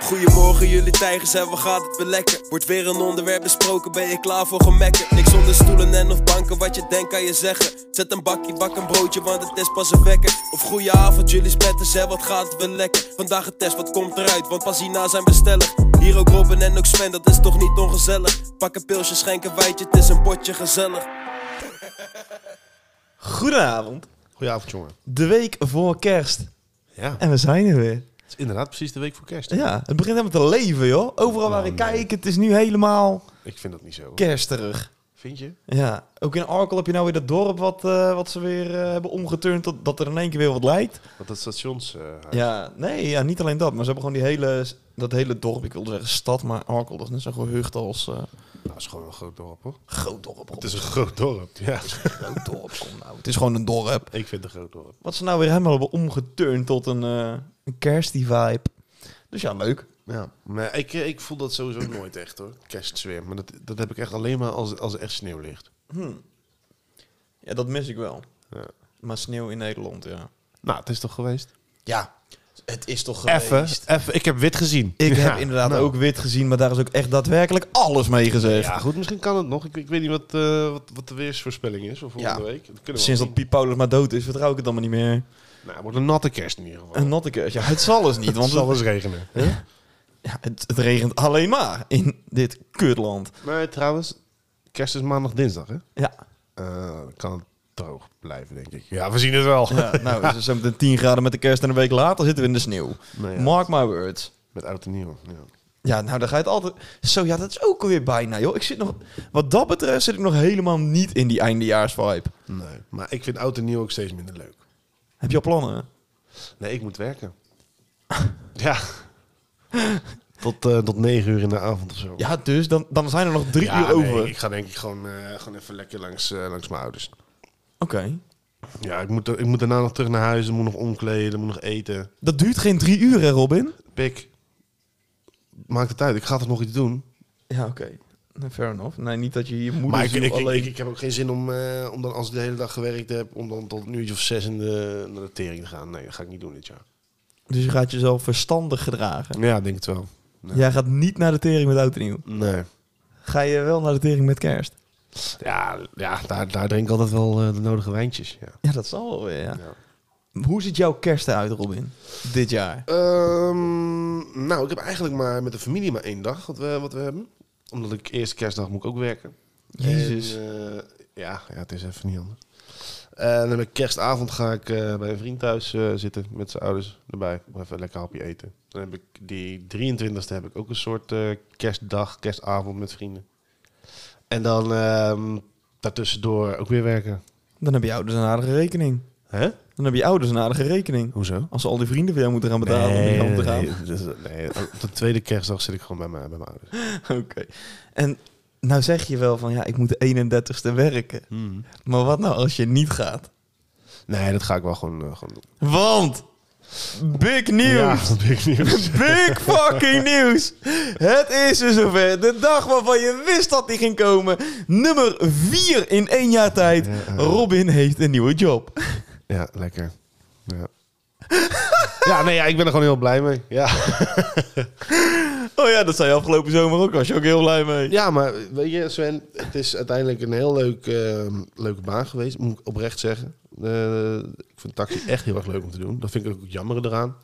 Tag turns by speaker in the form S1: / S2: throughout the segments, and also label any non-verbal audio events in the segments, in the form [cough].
S1: Goedemorgen jullie tijgers en wat gaat het weer lekker Wordt weer een onderwerp besproken, ben je klaar voor gemekken Niks onder stoelen en of banken, wat je denkt kan je zeggen Zet een bakje, bak een broodje, want het is pas een wekker Of goeie avond jullie spetters en wat gaat het weer lekker Vandaag een test, wat komt eruit, want pas hierna zijn we stellig Hier ook Robin en ook Sven, dat is toch niet ongezellig Pak een pilsje, schenk een wijtje, het is een potje gezellig
S2: Goedenavond.
S3: Goedenavond, jongen.
S2: De week voor kerst.
S3: Ja,
S2: En we zijn er weer.
S3: het is inderdaad precies de week voor kerst.
S2: Ja, het begint helemaal te leven, joh. Overal waar ik kijk, het is nu helemaal
S3: Ik vind dat niet zo.
S2: kersterig.
S3: Vind je?
S2: Ja, ook in Arkel heb je nou weer dat dorp wat, eh, wat ze weer eh, hebben omgeturnd tot dat er in één keer weer wat lijkt.
S3: Want dat stations... eh,
S2: Ja, nee, ja, niet alleen dat, maar ze hebben gewoon die hele, dat hele dorp, ik wilde zeggen stad, maar Arkel dat is net zo gehucht als eh,
S3: nou, is gewoon een groot dorp, hoor.
S2: groot dorp.
S3: Het is een groot dorp, [laughs] ja.
S2: groot dorp, kom nou. Het is gewoon een dorp.
S3: Ik vind het een groot dorp.
S2: Wat ze nou weer helemaal hebben omgeturnd tot een, eh een kerstie vibe. Dus ja, leuk.
S3: Ja. Maar ik, eh, ik voel dat sowieso nooit echt, hoor. Kerstzweer. Maar dat, dat heb ik echt alleen maar als, als er echt sneeuw ligt.
S2: Ja, dat mis ik wel.
S3: Ja.
S2: Maar sneeuw in Nederland, ja.
S3: Nou, het is toch geweest?
S2: Ja, het is toch
S3: Even, even. Ik heb wit gezien.
S2: Ik
S3: Ja,
S2: heb inderdaad
S3: nou.
S2: ook wit gezien, maar daar is ook echt daadwerkelijk alles mee gezegd.
S3: Ja, goed, misschien kan het nog. Ik, ik weet niet wat, eh, wat, wat de weersvoorspelling is voor volgende
S2: Ja.
S3: week. Dat kunnen we
S2: Sinds
S3: wel
S2: dat Piet Paulus maar dood is, vertrouw ik het allemaal niet meer.
S3: zien. Nou, het wordt een natte kerst in ieder geval.
S2: Een natte kerst. Ja, het zal dus niet,
S3: het
S2: want [laughs]
S3: zal
S2: het,
S3: eens regenen.
S2: ja, het, het regent alleen maar in dit kutland.
S3: Nee, trouwens, kerst is maandag, dinsdag, hè?
S2: Ja,
S3: Eh, kan het droog blijven, denk ik. Ja, we zien het wel.
S2: ja nou, is het zo meteen 10 graden met de kerst en een week later zitten we in de sneeuw.
S3: Nee, ja.
S2: Mark my words.
S3: [laughs] Met oud en nieuw. Ja.
S2: Ja, nou, dan ga je het altijd... Zo, ja, dat is ook alweer bijna, joh. Ik zit nog... Wat dat betreft zit ik nog helemaal niet in die eindejaars-vibe.
S3: Nee, maar ik vind oud en nieuw ook steeds minder leuk.
S2: Heb je al plannen?
S3: Nee, ik moet [laughs] werken. [laughs] ja. Tot, eh, tot negen uur in de avond of zo.
S2: Ja, dus dan, dan zijn er nog drie
S3: Ja,
S2: uur
S3: nee,
S2: over.
S3: ik ga denk ik gewoon, eh, gewoon even lekker langs, eh, langs mijn ouders.
S2: Oké.
S3: Ja, ik moet, ik moet daarna nog terug naar huis. Ik moet nog omkleden, moet nog eten.
S2: Dat duurt geen drie uur, hè, Robin?
S3: Pik, maakt het uit. Ik ga toch nog iets doen.
S2: Ja, oké. Nou, Fair enough. Nee, niet dat je je moeder
S3: Maar Dus ik, ik,
S2: alleen...
S3: ik, ik heb ook geen zin om, eh, om dan, als ik de hele dag gewerkt heb, om dan tot een uurtje of zes in de, naar de tering te gaan. Nee, dat ga ik niet doen dit jaar.
S2: Dus je gaat jezelf verstandig gedragen.
S3: Ja, ik denk het wel. Nee.
S2: Jij gaat niet naar de tering met oud en nieuw.
S3: Nee.
S2: Ga je wel naar de tering met kerst?
S3: Ja, ja daar, daar drink ik altijd wel eh, de nodige wijntjes. Ja.
S2: Ja, dat zal wel weer, ja. Hoe ziet jouw kerst eruit, Robin? Dit jaar?
S3: Ehm, nou, ik heb eigenlijk maar met de familie maar één dag wat we, wat we hebben. Omdat ik eerste kerstdag moet ik ook werken.
S2: Jezus.
S3: En, eh, ja, ja, het is even niet anders. En dan heb ik kerstavond ga ik eh, bij een vriend thuis eh, zitten met zijn ouders erbij. Nog Even een lekker hapje eten. Dan heb ik die 23e heb ik ook een soort eh, kerstdag, kerstavond met vrienden. En dan ehm, daartussendoor ook weer werken.
S2: Dan heb je ouders een aardige rekening.
S3: Hè?
S2: Dan heb je ouders een aardige rekening.
S3: Hoezo?
S2: Als ze al die vrienden voor jou moeten gaan betalen om die kant te gaan.
S3: [laughs] nee, dus, nee, op de tweede kerstdag zit ik gewoon bij mijn, bij mijn ouders.
S2: [laughs] Oké. En nou zeg je wel van, ja, ik moet de 31ste werken.
S3: Hmm.
S2: Maar wat nou als je niet gaat?
S3: Nee, dat ga ik wel gewoon, eh, gewoon doen.
S2: Want, big
S3: Ja,
S2: nieuws!
S3: [laughs] dat ben ik niet. [laughs]
S2: Big fucking nieuws! Het is er zover. De dag waarvan je wist dat die ging komen. Nummer 4 in één jaar tijd. Robin heeft een nieuwe job.
S3: Ja, lekker. Ja. [laughs] ja, nee, ja, ik ben er gewoon heel blij mee. Ja.
S2: Oh ja, dat zei je afgelopen zomer ook. Was je ook heel blij mee.
S3: ja, maar weet je, Sven, het is uiteindelijk een heel leuk, eh, leuke baan geweest, moet ik oprecht zeggen. Eh, ik vind taxi echt heel erg leuk om te doen. Dat vind ik ook het jammere eraan.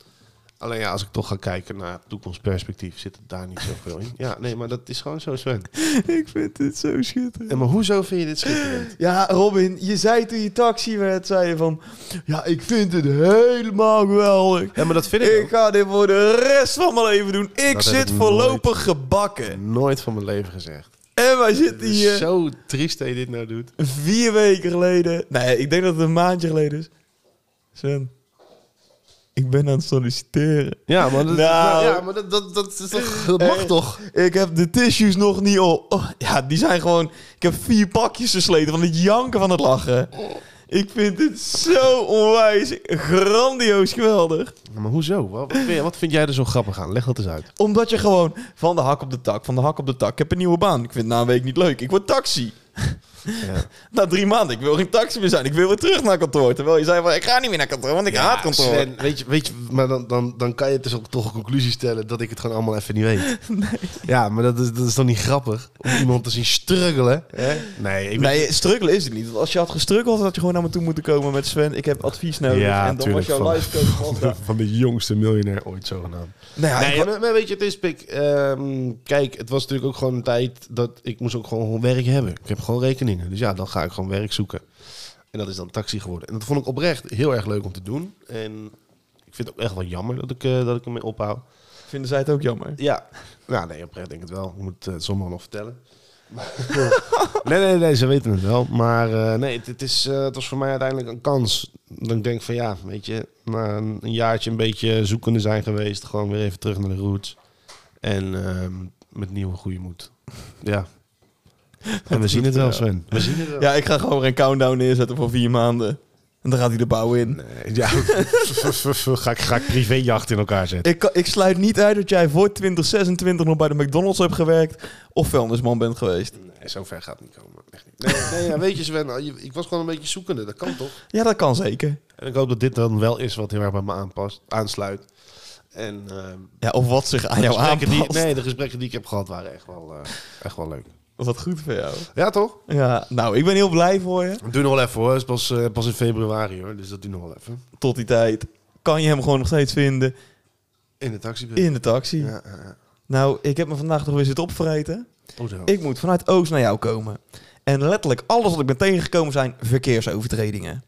S3: Alleen ja, als ik toch ga kijken naar toekomstperspectief, zit het daar niet zoveel in. Ja, nee, maar dat is gewoon zo, Sven.
S2: [laughs] Ik vind dit zo schitterend.
S3: En maar hoezo vind je dit schitterend?
S2: Ja, Robin, je zei toen je taxi werd, zei je van... Ja, ik vind het helemaal geweldig.
S3: Ja, maar dat vind ik
S2: Ik ga dit voor de rest van mijn leven doen. Ik
S3: Dat heb
S2: zit
S3: ik
S2: voorlopig gebakken.
S3: nooit van mijn leven gezegd.
S2: En wij zitten
S3: Het is
S2: hier
S3: zo triest dat je dit nou doet.
S2: vier weken geleden. Nee, ik denk dat het een maandje geleden is. Sven, ik ben aan het solliciteren.
S3: Ja, maar dat,
S2: Nou.
S3: ja, maar dat, dat, dat, is toch, dat mag
S2: Eh,
S3: toch?
S2: Ik heb de tissues nog niet op. Oh, ja, die zijn gewoon... Ik heb vier pakjes gesleten van het janken van het lachen. Ik vind dit zo onwijs grandioos geweldig.
S3: Ja, Maar hoezo? Wat wat vind, jij- wat vind jij er zo grappig aan? Leg dat eens uit.
S2: Omdat je gewoon van de hak op de tak, van de hak op de tak. Ik heb een nieuwe baan. Ik vind het na een week niet leuk. Ik word taxi.
S3: Ja.
S2: [laughs] Na drie maanden, ik wil geen taxi meer zijn. Ik wil weer terug naar kantoor. Terwijl je zei van, ik ga niet meer naar kantoor, want ik
S3: Ja,
S2: haat kantoor.
S3: Sven, weet je, weet je, maar dan, dan, dan kan je dus ook toch een conclusie stellen dat ik het gewoon allemaal even niet [laughs] weet. Ja, maar dat is, dat is dan niet grappig om iemand te zien struggelen. Hè? Nee, ik ben-
S2: Nee, struggelen is het niet. Want als je had gestruggeld, had je gewoon naar me toe moeten komen met Sven. Ik heb advies nodig.
S3: Ja,
S2: en dan
S3: tuurlijk,
S2: was jouw
S3: van-
S2: live coach.
S3: [laughs] van, de, van de jongste miljonair ooit zogenaamd.
S2: Nou ja, ik
S3: Nee,
S2: wa-
S3: maar, maar weet je, het is pik. ehm, kijk, het was natuurlijk ook gewoon een tijd dat ik moest ook gewoon werk hebben. Ik heb gewoon rekeningen. Dus ja, dan ga ik gewoon werk zoeken. En dat is dan taxi geworden. En dat vond ik oprecht heel erg leuk om te doen. En ik vind het ook echt wel jammer dat ik, eh dat ik ermee ophoud.
S2: vinden zij het ook jammer.
S3: [laughs] Ja. Nou, nee, oprecht denk ik het wel. Je moet eh, het sommigen nog vertellen. [laughs] nee, nee, nee, ze weten het wel. Maar eh, nee, het, het is, eh, het was voor mij uiteindelijk een kans. Dat ik denk van ja, weet je, na een, een jaartje een beetje zoekende zijn geweest, gewoon weer even terug naar de roots. En ehm, met nieuwe goede moed. [laughs] Ja. En we zien het wel, Sven. We zien het wel.
S2: Ja, ik ga gewoon weer een countdown neerzetten voor vier maanden. En dan gaat hij de bouw in.
S3: Nee, [laughs] ja. [laughs] ga ik, ga ik privéjacht in elkaar zetten.
S2: Ik, kan- ik sluit niet uit dat jij voor 2026 nog bij de McDonald's hebt gewerkt. Of vuilnisman bent geweest.
S3: Nee, zo ver gaat het niet komen. Echt niet. Nee, nee ja, weet je Sven, je- ik was gewoon een beetje zoekende. Dat kan toch?
S2: Ja, dat kan zeker.
S3: En ik hoop dat dit dan wel is wat heel erg bij me aanpast, aansluit. En ehm,
S2: Ja, of wat zich aan jou
S3: gesprekken die,
S2: aanpast.
S3: nee, de gesprekken die ik heb gehad waren echt wel, eh, echt wel leuk.
S2: Wat goed voor jou.
S3: Ja, toch?
S2: Ja, nou, ik ben heel blij voor je.
S3: Doe nog wel even hoor. Het is pas, eh, pas in februari hoor. Dus dat doe nog wel even.
S2: Tot die tijd kan je hem gewoon nog steeds vinden
S3: In de taxi.
S2: in de taxi.
S3: Ja, ja, ja.
S2: Nou, ik heb me vandaag nog weer zitten opvreten.
S3: Oh, zo.
S2: Ik moet vanuit Oost naar jou komen. En letterlijk alles wat ik ben tegengekomen zijn verkeersovertredingen.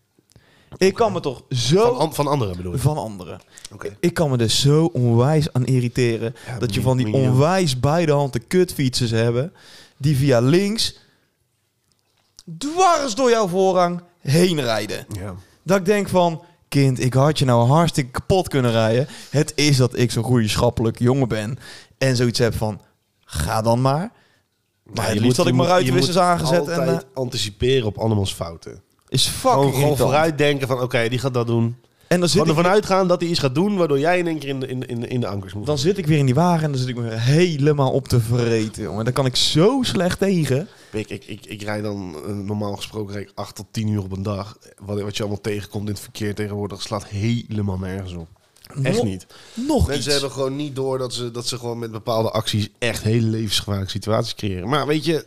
S2: Ik kan me toch
S3: van,
S2: zo
S3: an- van anderen bedoel ik.
S2: van anderen.
S3: Oké.
S2: Ik kan me dus zo onwijs aan irriteren.
S3: Ja,
S2: dat je
S3: mi-
S2: van die
S3: minimum.
S2: onwijs beide handen kutfietsers hebben. Die via links dwars door jouw voorrang heen rijden.
S3: Ja.
S2: Dat ik denk van, kind, ik had je nou hartstikke kapot kunnen rijden. Het is dat ik zo'n goede schappelijke jongen ben. En zoiets heb van, ga dan maar. Maar het liefst had ik mijn ruitenwissers aangezet. En,
S3: altijd
S2: eh,
S3: anticiperen op andermans fouten.
S2: is
S3: Gewoon,
S2: fucking
S3: gewoon
S2: irritant.
S3: vooruit denken van oké, die gaat dat doen.
S2: En dan zit,
S3: Gewoon
S2: ik,
S3: ervan uitgaan dat hij iets gaat doen waardoor jij in één keer in de, in, de- in, de- in de ankers moet.
S2: dan zit ik weer in die wagen en dan zit ik me helemaal op te vreten. Jongen. Daar kan ik zo slecht tegen.
S3: Ik, ik, ik, ik rijd dan eh, normaal gesproken rijd ik 8 tot 10 uur op een dag. Wat, wat je allemaal tegenkomt in het verkeer tegenwoordig slaat helemaal nergens op. Echt
S2: Nog-
S3: niet.
S2: Nog
S3: Mensen
S2: iets.
S3: hebben gewoon niet door dat ze, dat ze gewoon met bepaalde acties echt hele levensgevaarlijke situaties creëren. Maar weet je,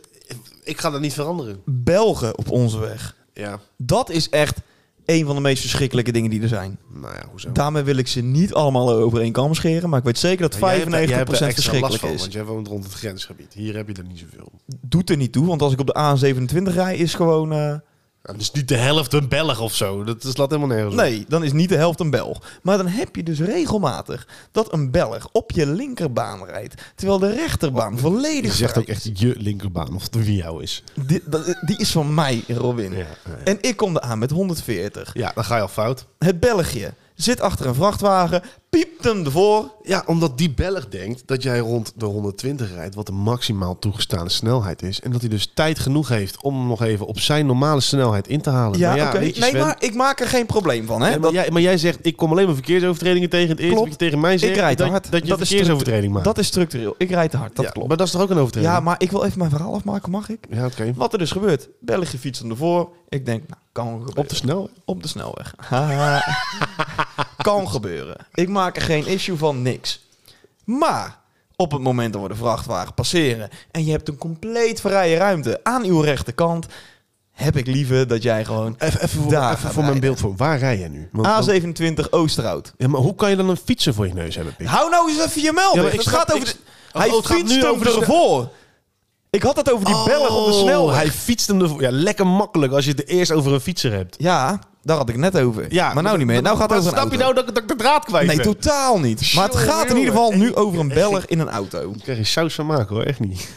S3: ik ga dat niet veranderen.
S2: Belgen op onze weg.
S3: Ja,
S2: Dat is echt een van de meest verschrikkelijke dingen die er zijn.
S3: nou ja, hoezo?
S2: Daarmee wil ik ze niet allemaal over één kam scheren. Maar ik weet zeker dat
S3: Maar jij
S2: 95%
S3: hebt daar- jij hebt daar extra
S2: verschrikkelijk
S3: last van,
S2: is.
S3: Want jij woont rond het grensgebied. Hier heb je er niet zoveel.
S2: Doet er niet toe. Want als ik op de A27 rij, is gewoon... eh,
S3: Ja, dat is niet de helft een Belg of zo. Dat dat slaat helemaal nergens op.
S2: nee, dan is niet de helft een Belg. Maar dan heb je dus regelmatig dat een Belg op je linkerbaan rijdt. Terwijl de rechterbaan
S3: Oh, Je
S2: volledig
S3: zegt
S2: vrij
S3: ook echt je linkerbaan of de wie jou is.
S2: is. Die, dat- die is van mij, Robin.
S3: Ja, ja.
S2: En ik kom eraan met 140.
S3: ja, dan ga je al fout.
S2: Het Belgje zit achter een vrachtwagen, piept hem ervoor.
S3: Ja, omdat die Belg denkt dat jij rond de 120 rijdt, wat de maximaal toegestane snelheid is. En dat hij dus tijd genoeg heeft om hem nog even op zijn normale snelheid in te halen.
S2: Ja,
S3: maar
S2: oké.
S3: weet je,
S2: Nee,
S3: Sven,
S2: maar ik maak er geen probleem van. Hè?
S3: nee,
S2: Dat-
S3: maar, jij, maar jij zegt, ik kom alleen maar verkeersovertredingen tegen. Het eerste
S2: Klopt.
S3: wat je tegen mij zegt,
S2: ik rijd te
S3: dat,
S2: hard.
S3: dat je een
S2: is structureel.
S3: verkeersovertreding maakt.
S2: Dat is structureel. Ik rijd te hard, dat
S3: Ja,
S2: klopt.
S3: Maar dat is toch ook een overtreding?
S2: Ja, maar ik wil even mijn verhaal afmaken, mag ik?
S3: Ja, oké.
S2: Wat er dus gebeurt. België fietst hem ervoor. Ik denk, nou, kan gebeuren.
S3: Op de snelheid.
S2: Op de snelweg. [laughs] Haha. kan gebeuren. Ik maak er geen issue van, niks. Maar op het moment dat we de vrachtwagen passeren en je hebt een compleet vrije ruimte aan uw rechterkant, heb ik liever dat jij gewoon
S3: Even, even voor,
S2: Daar
S3: even
S2: gaat
S3: voor mijn
S2: rijden.
S3: beeld voor. Waar rij jij nu? Want- want-
S2: A27 Oosterhout.
S3: ja, maar hoe kan je dan een fietser voor je neus hebben, Pik?
S2: Hou nou eens even je meld.
S3: Ja, maar ik
S2: het
S3: snap-
S2: gaat over.
S3: ik-
S2: de-
S3: Oh,
S2: hij
S3: het gaat
S2: fietst
S3: nu
S2: hem
S3: over de sne-
S2: ervoor. Ik had het over die bellen op de
S3: Oh,
S2: snelweg.
S3: Hij fietst hem ervoor. Ja, lekker makkelijk als je het eerst over een fietser hebt.
S2: Ja, daar had ik het net over. maar nou niet meer. Nou gaat het over een
S3: Snap je
S2: auto.
S3: nou dat ik, dat ik de draad kwijt
S2: Nee,
S3: ben?
S2: totaal niet. Maar het
S3: Jongen,
S2: gaat in ieder geval
S3: jongen.
S2: nu over een beller in een auto.
S3: Ik krijg je saus van maken hoor, echt niet.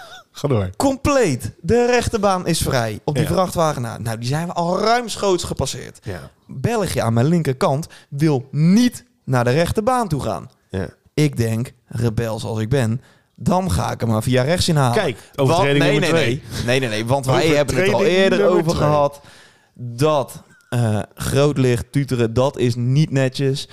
S3: [laughs] Ga door.
S2: Compleet. De rechterbaan is vrij. Op die
S3: Ja.
S2: vrachtwagen na. Nou, die zijn we al ruimschoots gepasseerd.
S3: Ja.
S2: België aan mijn linkerkant wil niet naar de rechterbaan toe gaan.
S3: ja.
S2: Ik denk, rebels als ik ben, dan ga ik hem maar via rechts inhalen.
S3: Kijk, overtreding
S2: Want- nee,
S3: nummer
S2: nee, nee, nee, nee, nee, want wij
S3: Overtreding
S2: hebben het al eerder
S3: nummer
S2: over
S3: twee.
S2: gehad. Dat eh groot licht, tuteren, dat is niet netjes.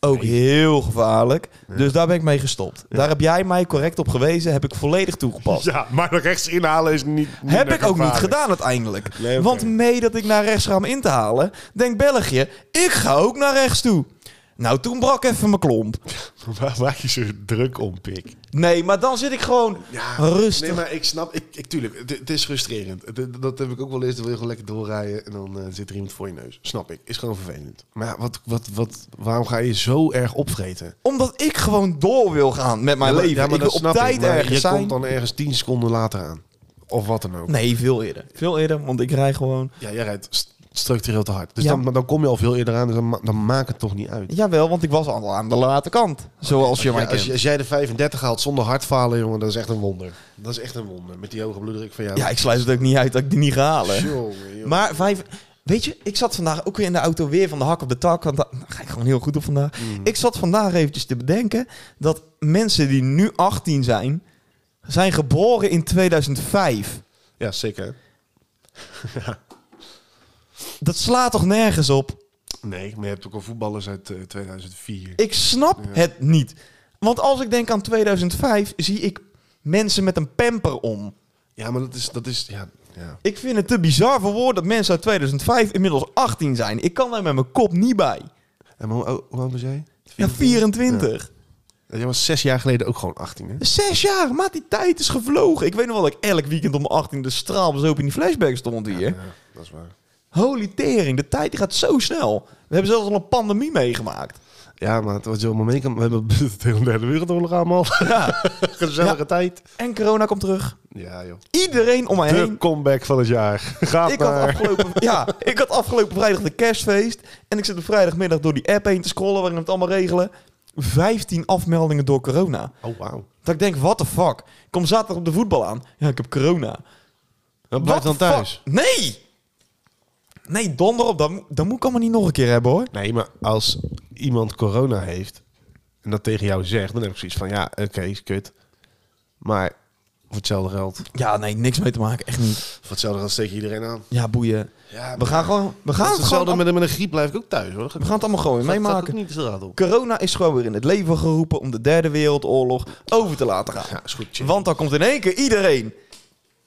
S2: Ook heel gevaarlijk. Dus daar ben ik mee gestopt. Daar heb jij mij correct op gewezen. Heb ik volledig toegepast.
S3: [laughs] Ja, maar rechts inhalen is niet. minder
S2: Heb ik ook niet
S3: gevaarlijk.
S2: gedaan uiteindelijk.
S3: Nee, oké.
S2: Want mee dat ik naar rechts ga om in te halen, denkt België, ik ga ook naar rechts toe. Nou, toen brak even mijn klomp.
S3: [laughs] Waar maak je zo druk om, pik?
S2: Nee, maar dan zit ik gewoon rustig.
S3: Nee, maar ik snap, ik, ik tuurlijk, het, het is frustrerend. Het- het- dat heb ik ook wel eens, dan wil je gewoon lekker doorrijden en dan eh, zit er iemand voor je neus. Snap ik, is gewoon vervelend. Maar ja, wat, wat, wat, waarom ga je zo erg opvreten?
S2: Omdat ik gewoon door wil gaan met mijn
S3: Ja, maar-
S2: leven.
S3: ja, maar
S2: ik wil
S3: dat
S2: op
S3: snap
S2: tijd
S3: ik, maar
S2: ergens
S3: je
S2: zijn.
S3: komt dan ergens 10 seconden later aan. Of wat dan ook.
S2: Nee, veel eerder. Veel eerder, want ik rij gewoon...
S3: Ja, jij rijdt st- structureel te hard. Dus
S2: Ja.
S3: dan, maar dan kom je al veel eerder aan, dus dan, ma- dan maakt het toch niet uit.
S2: Jawel, want ik was al aan de late kant. Zoals je
S3: Ja,
S2: mij
S3: als,
S2: kent.
S3: je- als jij de 35 haalt zonder hard falen, jongen, dat is echt een wonder. Dat is echt een wonder. Met die hoge bloeddruk van jou.
S2: Ja, ik sluit het ook niet uit dat ik die niet ga halen.
S3: Jongen, jongen.
S2: Maar vijf... Weet je, ik zat vandaag ook weer in de auto weer van de hak op de tak. Want daar daar ga ik gewoon heel goed op vandaag.
S3: Mm.
S2: Ik zat vandaag eventjes te bedenken dat mensen die nu 18 zijn, zijn geboren in 2005.
S3: Ja, zeker.
S2: Dat slaat toch nergens op?
S3: Nee, maar je hebt ook al voetballers uit eh, 2004.
S2: Ik snap het niet. Want als ik denk aan 2005, zie ik mensen met een pamper om.
S3: Ja, maar dat is... Dat is ja, ja.
S2: Ik vind het te bizar voor woorden dat mensen uit 2005 inmiddels 18 zijn. Ik kan daar met mijn kop niet bij.
S3: En hoe, hoe, hoe oud was jij?
S2: Ja, 24.
S3: Jij was zes jaar geleden ook gewoon 18, hè?
S2: Zes jaar, maat, die tijd is gevlogen. Ik weet nog wel dat ik elk weekend om 18 de straal was open in die flashback stond hier.
S3: Ja, dat is waar.
S2: Holy tering, de tijd die gaat zo snel. We hebben zelfs al een pandemie meegemaakt.
S3: Ja, maar het was helemaal mee. kan- We hebben [laughs] de hele derde wereldoorlog allemaal. [laughs]
S2: Ja.
S3: Gezellige
S2: Ja.
S3: tijd.
S2: En corona komt terug.
S3: Ja, joh.
S2: Iedereen om mij
S3: De
S2: heen.
S3: comeback van het jaar. Gaat
S2: Ik had,
S3: maar. [laughs]
S2: afgelopen, ja, ik had afgelopen vrijdag de kerstfeest. En ik zit op vrijdagmiddag door die app heen te scrollen waarin we het allemaal regelen. 15 afmeldingen door corona.
S3: Oh, wauw.
S2: Dat ik denk, what the fuck? Ik kom zaterdag op de voetbal aan. Ja, ik heb corona. Wat
S3: Dan blijf dan thuis.
S2: Nee! Nee, donder op. Dat, mo- dat moet ik allemaal niet nog een keer hebben, hoor.
S3: Nee, maar als iemand corona heeft en dat tegen jou zegt, dan heb ik zoiets van, ja, oké, is kut. Maar voor hetzelfde geld,
S2: Ja, nee, niks mee te maken. Echt niet.
S3: voor hetzelfde geld steek je iedereen aan.
S2: Ja, boeien.
S3: Ja,
S2: We gaan gewoon... We gaan het, gewoon,
S3: hetzelfde met, met een griep blijf ik ook thuis, hoor.
S2: we gaan het allemaal gewoon weer meemaken.
S3: niet de straat op.
S2: Corona is gewoon weer in het leven geroepen om de derde wereldoorlog over te laten gaan.
S3: Ja, is goed. chill.
S2: Want dan komt in één keer iedereen.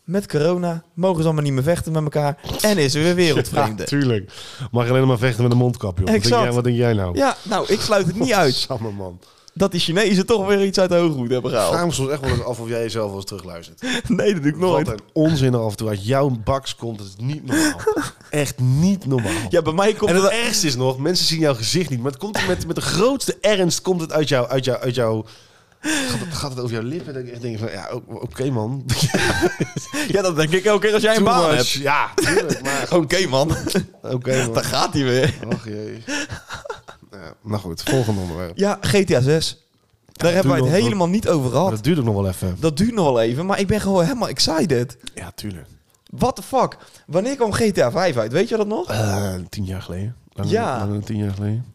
S2: Met corona mogen ze allemaal niet meer vechten met elkaar. En is er weer
S3: Ja,
S2: wereldvreemde.
S3: tuurlijk. Mag alleen maar vechten met een mondkapje op. Wat denk,
S2: Exact.
S3: jij, wat denk jij nou?
S2: Ja, nou, ik sluit het niet uit
S3: Samme man.
S2: dat die Chinezen toch weer iets uit de hooghoed hebben
S3: Vraag
S2: gehaald.
S3: me soms echt wel eens af of jij jezelf wel eens terugluistert.
S2: Nee, dat doe ik nooit.
S3: Wat een onzin er af en toe uit jouw baks komt. Dat is
S2: [laughs]
S3: niet normaal. echt niet normaal.
S2: Ja, bij mij komt
S3: en het
S2: het...
S3: ergste is nog, mensen zien jouw gezicht niet. Maar het komt met, met de grootste ernst komt het uit jou. Uit jou, uit jou gaat, het, gaat het over jouw lippen? Dan denk ik van, ja, o- oké
S2: [laughs]
S3: man.
S2: Ja, dat denk ik elke keer als jij een baan hebt. Oh.
S3: Ja, tuurlijk, maar
S2: Oké, man.
S3: oké man.
S2: Daar gaat hij weer.
S3: Och jee. Ja, nou goed, volgende onderwerp.
S2: [laughs] Ja, GTA 6. Daar hebben wij
S3: doe
S2: het
S3: nog-
S2: helemaal niet over
S3: Maar
S2: gehad.
S3: dat duurt ook nog wel even.
S2: Dat duurt nog wel even, maar ik ben gewoon helemaal excited.
S3: Ja, tuurlijk.
S2: What the fuck? Wanneer kwam GTA 5 uit? Weet je dat nog?
S3: Eh, tien jaar geleden. Langer,
S2: Ja.
S3: langer dan tien jaar geleden.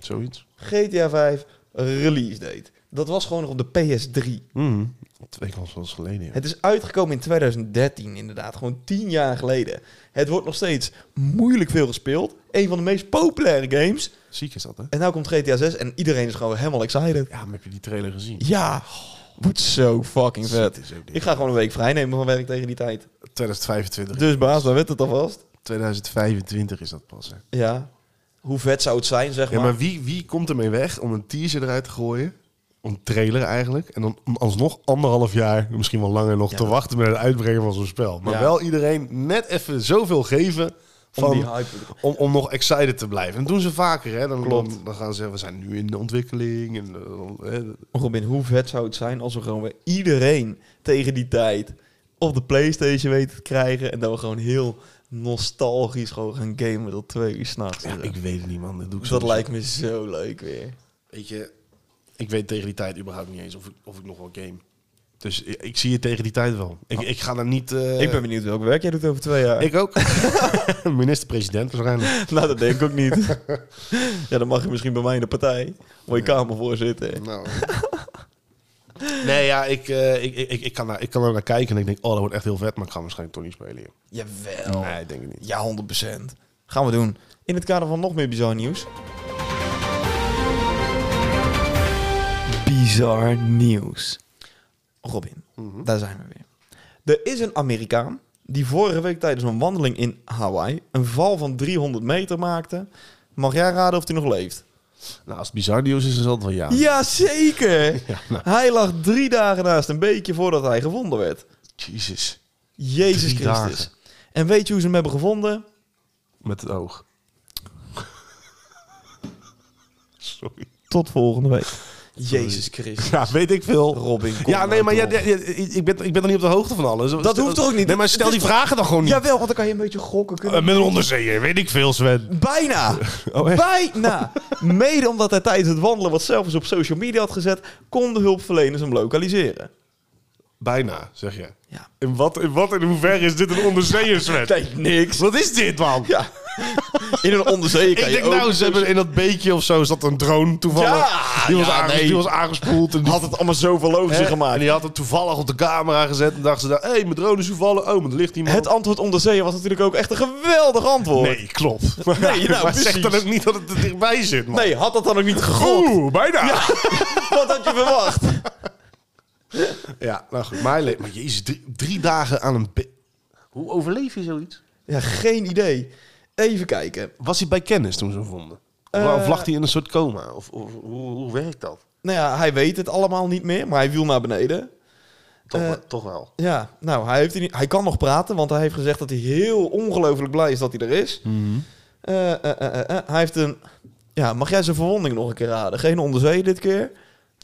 S3: Zoiets.
S2: GTA 5 release date. Dat was gewoon nog op de PS3.
S3: Mhm. Twee consoles geleden. ja.
S2: Mm. Het is uitgekomen in 2013 inderdaad. Gewoon tien jaar geleden. Het wordt nog steeds moeilijk veel gespeeld. Een van de meest populaire games.
S3: Ziek is dat, hè?
S2: En nu komt GTA 6 en iedereen is gewoon helemaal excited.
S3: Ja, maar heb je die trailer gezien?
S2: Ja, wordt zo fucking vet.
S3: Het is ook dit.
S2: Ik ga gewoon een week vrij nemen van werk tegen die tijd.
S3: 2025.
S2: Dus baas, dan werd het alvast.
S3: 2025 is dat pas, hè?
S2: Ja. Hoe vet zou het zijn, zeg
S3: Ja,
S2: maar.
S3: maar wie, wie komt ermee weg om een teaser eruit te gooien? Een trailer eigenlijk. En dan om alsnog anderhalf jaar, misschien wel langer nog,
S2: Ja,
S3: te
S2: dat-
S3: wachten met het uitbrengen van zo'n spel. Maar
S2: Ja.
S3: wel iedereen net even zoveel geven
S2: Om
S3: van,
S2: die
S3: om,
S2: hype.
S3: om, nog excited te blijven. En dat doen ze vaker, hè? Dan,
S2: Klopt.
S3: dan, dan gaan ze zeggen, we zijn nu in de ontwikkeling. En, eh, eh,
S2: Robin, hoe vet zou het zijn als we gewoon weer iedereen tegen die tijd op de Playstation weten te krijgen. En dat we gewoon heel nostalgisch gewoon gaan gamen tot twee uur s'nachts. Dus
S3: ja, ik weet het niet, man. Dat doe ik
S2: dat
S3: sowieso.
S2: lijkt me zo leuk weer.
S3: Weet je, ik weet tegen die tijd überhaupt niet eens of ik, of ik nog wel game. Dus ik, ik zie je tegen die tijd wel. Ik, ik ga daar niet... eh,
S2: ik ben benieuwd welk werk jij doet over twee jaar.
S3: Ik ook. [laughs] Minister-president
S2: [laughs]
S3: waarschijnlijk.
S2: Nou, dat denk ik ook
S3: [laughs]
S2: niet. ja, dan mag je misschien bij mij in de partij. Mooie kamer voor zitten.
S3: Nou. Nee, ja, ik, eh, ik, ik, ik, kan daar, ik kan er naar kijken en ik denk, oh, dat wordt echt heel vet, maar ik ga waarschijnlijk toch niet spelen. hier.
S2: Jawel.
S3: Nee, ik denk het niet.
S2: Ja, 100%. Gaan we doen. In het kader van nog meer bizar nieuws. bizar nieuws. Robin,
S3: Mhm.
S2: daar zijn we weer. Er is een Amerikaan die vorige week tijdens een wandeling in Hawaii een val van 300 meter maakte. Mag jij raden of hij nog leeft?
S3: Nou, als het bizar nieuws is, is dat wel ja.
S2: Jazeker!
S3: Ah. [laughs] Ja, nou.
S2: Hij lag drie dagen naast een beekje voordat hij gevonden werd.
S3: Jezus.
S2: Jezus
S3: Drie
S2: Christus.
S3: dagen.
S2: En weet je hoe ze hem hebben gevonden?
S3: Met het oog. [laughs] Sorry.
S2: Tot volgende week. Jezus Christus.
S3: Ja, weet ik veel.
S2: Robin, kom
S3: Ja, nee, maar
S2: nou
S3: ja,
S2: toch.
S3: ja, ja, ik, ben, ik ben nog niet op de hoogte van alles.
S2: Dat hoeft ook niet.
S3: Nee, maar stel die vragen dan gewoon niet.
S2: Jawel, want dan kan je een beetje gokken kunnen.
S3: Eh, met een onderzeeër, weet ik veel, Sven.
S2: [laughs] Bijna.
S3: Oh, echt?
S2: Bijna. Mede omdat hij tijdens het wandelen wat selfies op social media had gezet, konden hulpverleners hem lokaliseren.
S3: Bijna, zeg je.
S2: Ja.
S3: In wat, in wat en in hoeverre is dit een onderzeeër, Sven?
S2: Denk niks.
S3: Wat is dit, man?
S2: Ja. [laughs] In een onderzee kan
S3: ik
S2: je
S3: denk
S2: ook-
S3: nou, ze hebben in dat beekje of zo zat een drone toevallig.
S2: Ja,
S3: die, was
S2: ja,
S3: aanges-
S2: nee.
S3: die was aangespoeld. En die,
S2: Had het allemaal zoveel logischer
S3: hè, En
S2: gemaakt.
S3: die had het toevallig op de camera gezet. En dachten ze, daar, hé, mijn drone is toevallig. Oh, maar er ligt iemand.
S2: Het antwoord onderzeeën was natuurlijk ook echt een geweldig antwoord.
S3: [laughs] nee, klopt. Maar,
S2: Nee, nou,
S3: maar zeg
S2: precies.
S3: dan ook niet dat het er dichtbij zit, man.
S2: Nee, had dat dan ook niet gegokt? [laughs]
S3: Oeh, bijna. [laughs] Ja,
S2: Wat had je verwacht?
S3: nou goed. Maar, hij leeft- maar jezus, drie, drie dagen aan een... be- Hoe overleef je zoiets?
S2: Ja, geen idee. Even kijken.
S3: Was hij bij kennis toen ze hem vonden? Of,
S2: Eh.
S3: of lag hij in een soort coma? Of, of hoe, hoe werkt dat?
S2: Nou ja, hij weet het allemaal niet meer, maar hij viel naar beneden.
S3: Toch,
S2: Eh.
S3: wel- toch wel.
S2: Ja, nou, hij, heeft hier niet, hij kan nog praten, want hij heeft gezegd dat hij heel ongelooflijk blij is dat hij er is.
S3: Mhm.
S2: Eh, eh, eh, eh, eh, hij heeft een... Ja, mag jij zijn verwonding nog een keer raden? Geen onderzee dit keer.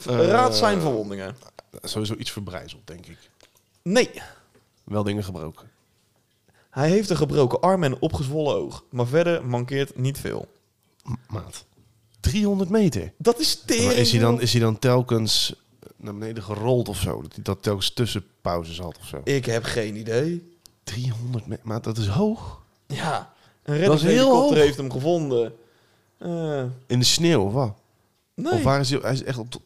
S3: Eh.
S2: Raad zijn verwondingen.
S3: Sowieso iets verbrijzeld, denk ik.
S2: Nee,
S3: Wel dingen gebroken.
S2: hij heeft een gebroken arm en een opgezwollen oog. Maar verder mankeert niet veel.
S3: Maat. 300 meter.
S2: Dat is tering.
S3: Maar is hij,
S2: joh.
S3: dan, is hij dan telkens naar beneden gerold of zo? Dat hij dat telkens tussenpauzes had of zo?
S2: Ik heb geen idee.
S3: 300 meter, maar dat is hoog.
S2: Ja, een
S3: heel
S2: reddingshelikopter
S3: hoog.
S2: heeft hem gevonden. Eh,
S3: In de sneeuw of wat? Of
S2: nee.
S3: waar is hij, hij is echt op... de-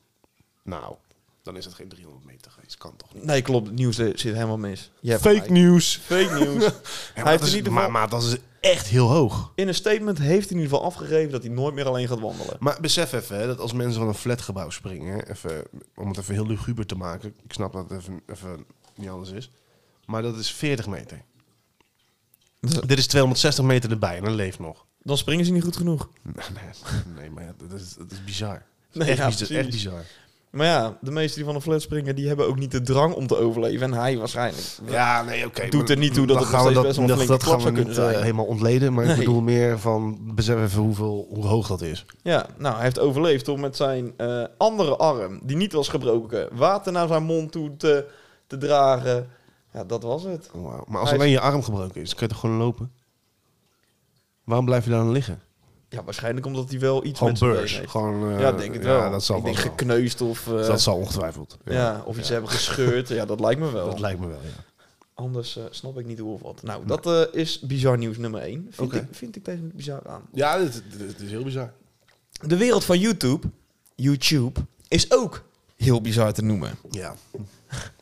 S3: Nou, dan is het geen 300 meter geweest. Kan toch niet?
S2: nee, klopt. Het nieuws eh, zit helemaal mis. Je hebt
S3: Fake
S2: gelijk.
S3: news.
S2: Fake news.
S3: [laughs] Ja,
S2: Hij heeft
S3: maar, dat
S2: in
S3: is,
S2: ieder
S3: maar,
S2: geval...
S3: maar dat is echt heel hoog.
S2: In een statement heeft hij in ieder geval afgegeven dat hij nooit meer alleen gaat wandelen.
S3: Maar besef even hè, dat als mensen van een flatgebouw springen, hè, even, om het even heel luguber te maken, ik snap dat het even, even niet anders is, maar dat is 40 meter. Dit is 260 meter erbij en dan leeft nog.
S2: Dan springen ze niet goed genoeg.
S3: Nee, [laughs] nee maar ja, dat, is, dat is bizar.
S2: Nee,
S3: echt,
S2: ja,
S3: bizar echt
S2: precies.
S3: bizar.
S2: Maar ja, de meesten die van de flat springen, die hebben ook niet de drang om te overleven. En hij waarschijnlijk.
S3: Ja, nee, oké.
S2: Doet
S3: maar
S2: er niet toe dat
S3: dan
S2: het nog steeds best wel een
S3: dat-
S2: flinke
S3: dat
S2: klap
S3: gaan
S2: zou
S3: we
S2: kunnen
S3: niet, eh,
S2: zijn.
S3: helemaal ontleden, maar
S2: Nee.
S3: ik bedoel meer van, besef even hoeveel, hoe hoog dat is.
S2: Ja, nou, hij heeft overleefd door met zijn eh, andere arm, die niet was gebroken, water naar zijn mond toe te, te dragen. Ja, dat was het.
S3: Wauw. Maar als
S2: Hij is-
S3: alleen je arm gebroken is, kun je toch gewoon lopen? Waarom blijf je daar dan liggen?
S2: Ja, waarschijnlijk omdat hij wel iets
S3: Gewoon
S2: met zijn
S3: beurs.
S2: been heeft.
S3: Gewoon, eh,
S2: ja, denk het
S3: ja,
S2: wel.
S3: Dat zal,
S2: ik
S3: wel
S2: denk
S3: wel.
S2: gekneusd of, eh,
S3: dat zal ongetwijfeld.
S2: ja. of iets hebben gescheurd. Ja, dat lijkt me wel.
S3: Dat lijkt me wel, ja.
S2: Anders eh, snap ik niet hoe of wat. Nou, dat eh, is bizar nieuws nummer 1. Vind,
S3: Oké.
S2: ik, vind ik tegen bizar aan.
S3: Ja, het, is heel bizar.
S2: De wereld van YouTube, YouTube, is ook heel bizar te noemen.
S3: Ja.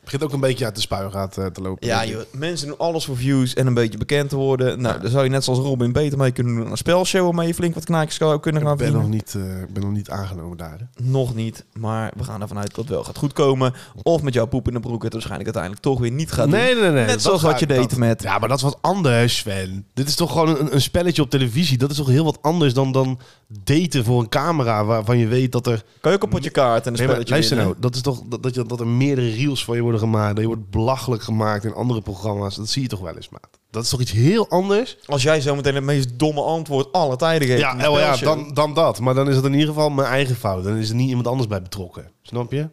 S3: Begint ook een beetje uit de spuigaat eh, te lopen.
S2: Ja, joh, mensen doen alles voor views en een beetje bekend te worden. Nou, daar zou je net zoals Robin beter mee kunnen doen aan een spelshow... waarmee je flink wat knaakjes zou kunnen
S3: Ik
S2: gaan
S3: ben nog,
S2: verdienen.
S3: niet, eh, ik ben nog niet aangenomen daar. hè.
S2: Nog niet, maar we gaan ervan uit dat het wel gaat goedkomen. Of met jouw poep in de broek het waarschijnlijk uiteindelijk toch weer niet gaat doen.
S3: nee, nee.
S2: Net zoals
S3: Dat
S2: wat je
S3: ga-
S2: deed
S3: dat-
S2: met-
S3: Ja, maar dat is wat anders, Sven. Dit is toch gewoon een, een spelletje op televisie. Dat is toch heel wat anders dan, dan daten voor een camera waarvan je weet dat er...
S2: Kan je ook een potje kaart en een
S3: Nee, maar
S2: spelletje
S3: luister
S2: winnen?
S3: nou. Dat is toch dat, dat, je, dat er meerdere reels van je worden gemaakt. Dat je wordt belachelijk gemaakt in andere programma's. Dat zie je toch wel eens, maat. Dat is toch iets heel anders?
S2: Als jij zometeen het meest domme antwoord alle tijden geeft
S3: Ja,
S2: in die
S3: oh ja
S2: spelshow.
S3: dan, dan dat. Maar dan is het in ieder geval mijn eigen fout. Dan is er niet iemand anders bij betrokken. Snap je?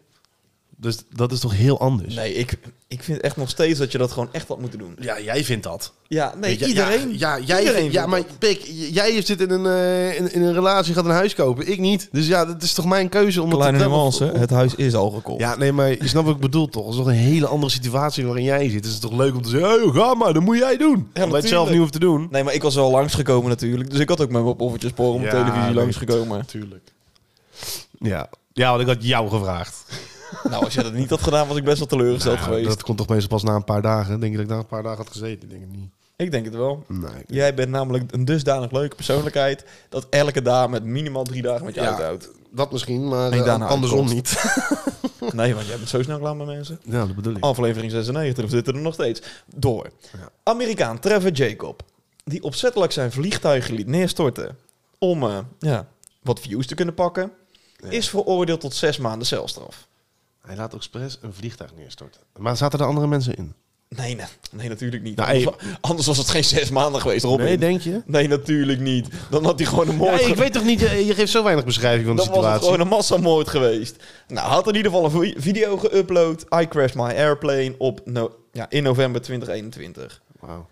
S3: Dus dat is toch heel anders?
S2: Nee, ik, ik vind echt nog steeds dat je dat gewoon echt had moeten doen.
S3: Ja, jij vindt dat.
S2: Ja, nee,
S3: Weet je,
S2: iedereen.
S3: Ja, ja, jij,
S2: iedereen
S3: ja
S2: vindt
S3: maar
S2: dat.
S3: Pik, j- jij zit in een, eh, in, in een relatie, gaat een huis kopen. Ik niet. Dus ja, dat is toch mijn keuze om
S2: Kleine
S3: het te tellen-
S2: nuance, het huis is al gekocht.
S3: Ja, nee, maar je snapt wat ik bedoel toch? Dat is toch een hele andere situatie waarin jij zit. Dus het is toch leuk om te zeggen, hey, ga maar, dat moet jij doen. Omdat je het zelf
S2: natuurlijk.
S3: niet hoeft te doen.
S2: Nee, maar ik was wel langsgekomen natuurlijk. Dus ik had ook met mijn poffertjesporen op
S3: Ja,
S2: televisie
S3: nee.
S2: langsgekomen.
S3: Natuurlijk. Ja. ja, want ik had jou gevraagd.
S2: nou, als jij dat niet had gedaan, was ik best wel teleurgesteld
S3: Nou,
S2: geweest.
S3: Dat komt toch meestal pas na een paar dagen. Denk je dat ik na een paar dagen had gezeten? Denk ik niet.
S2: Ik denk het wel.
S3: Nee.
S2: Jij bent namelijk een dusdanig leuke persoonlijkheid... dat elke dame het minimaal drie dagen met je
S3: Ja.
S2: uithoudt.
S3: Dat misschien, maar
S2: Ik
S3: eh,
S2: daarna
S3: andersom
S2: uitkomt.
S3: niet. [laughs]
S2: Nee, want jij bent zo snel klaar met mensen.
S3: Ja, dat bedoel ik.
S2: Aflevering 96, we zitten er nog steeds. Door.
S3: Ja.
S2: Amerikaan Trevor Jacob. Die opzettelijk zijn vliegtuig liet neerstorten. Om eh, ja, wat views te kunnen pakken. Is veroordeeld tot zes maanden celstraf.
S3: Hij laat ook expres een vliegtuig neerstorten. Maar zaten er andere mensen in?
S2: Nee, nee, nee natuurlijk niet.
S3: Nou,
S2: anders,
S3: hey.
S2: wa- anders was het geen zes maanden geweest, Robin.
S3: Nee, denk je?
S2: Nee, natuurlijk niet. Dan had hij gewoon een moord Oh, ge-
S3: weet toch niet, eh, je, je geeft zo weinig beschrijving van
S2: Dan was het gewoon een massamoord geweest. Nou, hij had in ieder geval een vi- video geüpload. I crashed my airplane op no- ja, in november 2021.
S3: Wauw.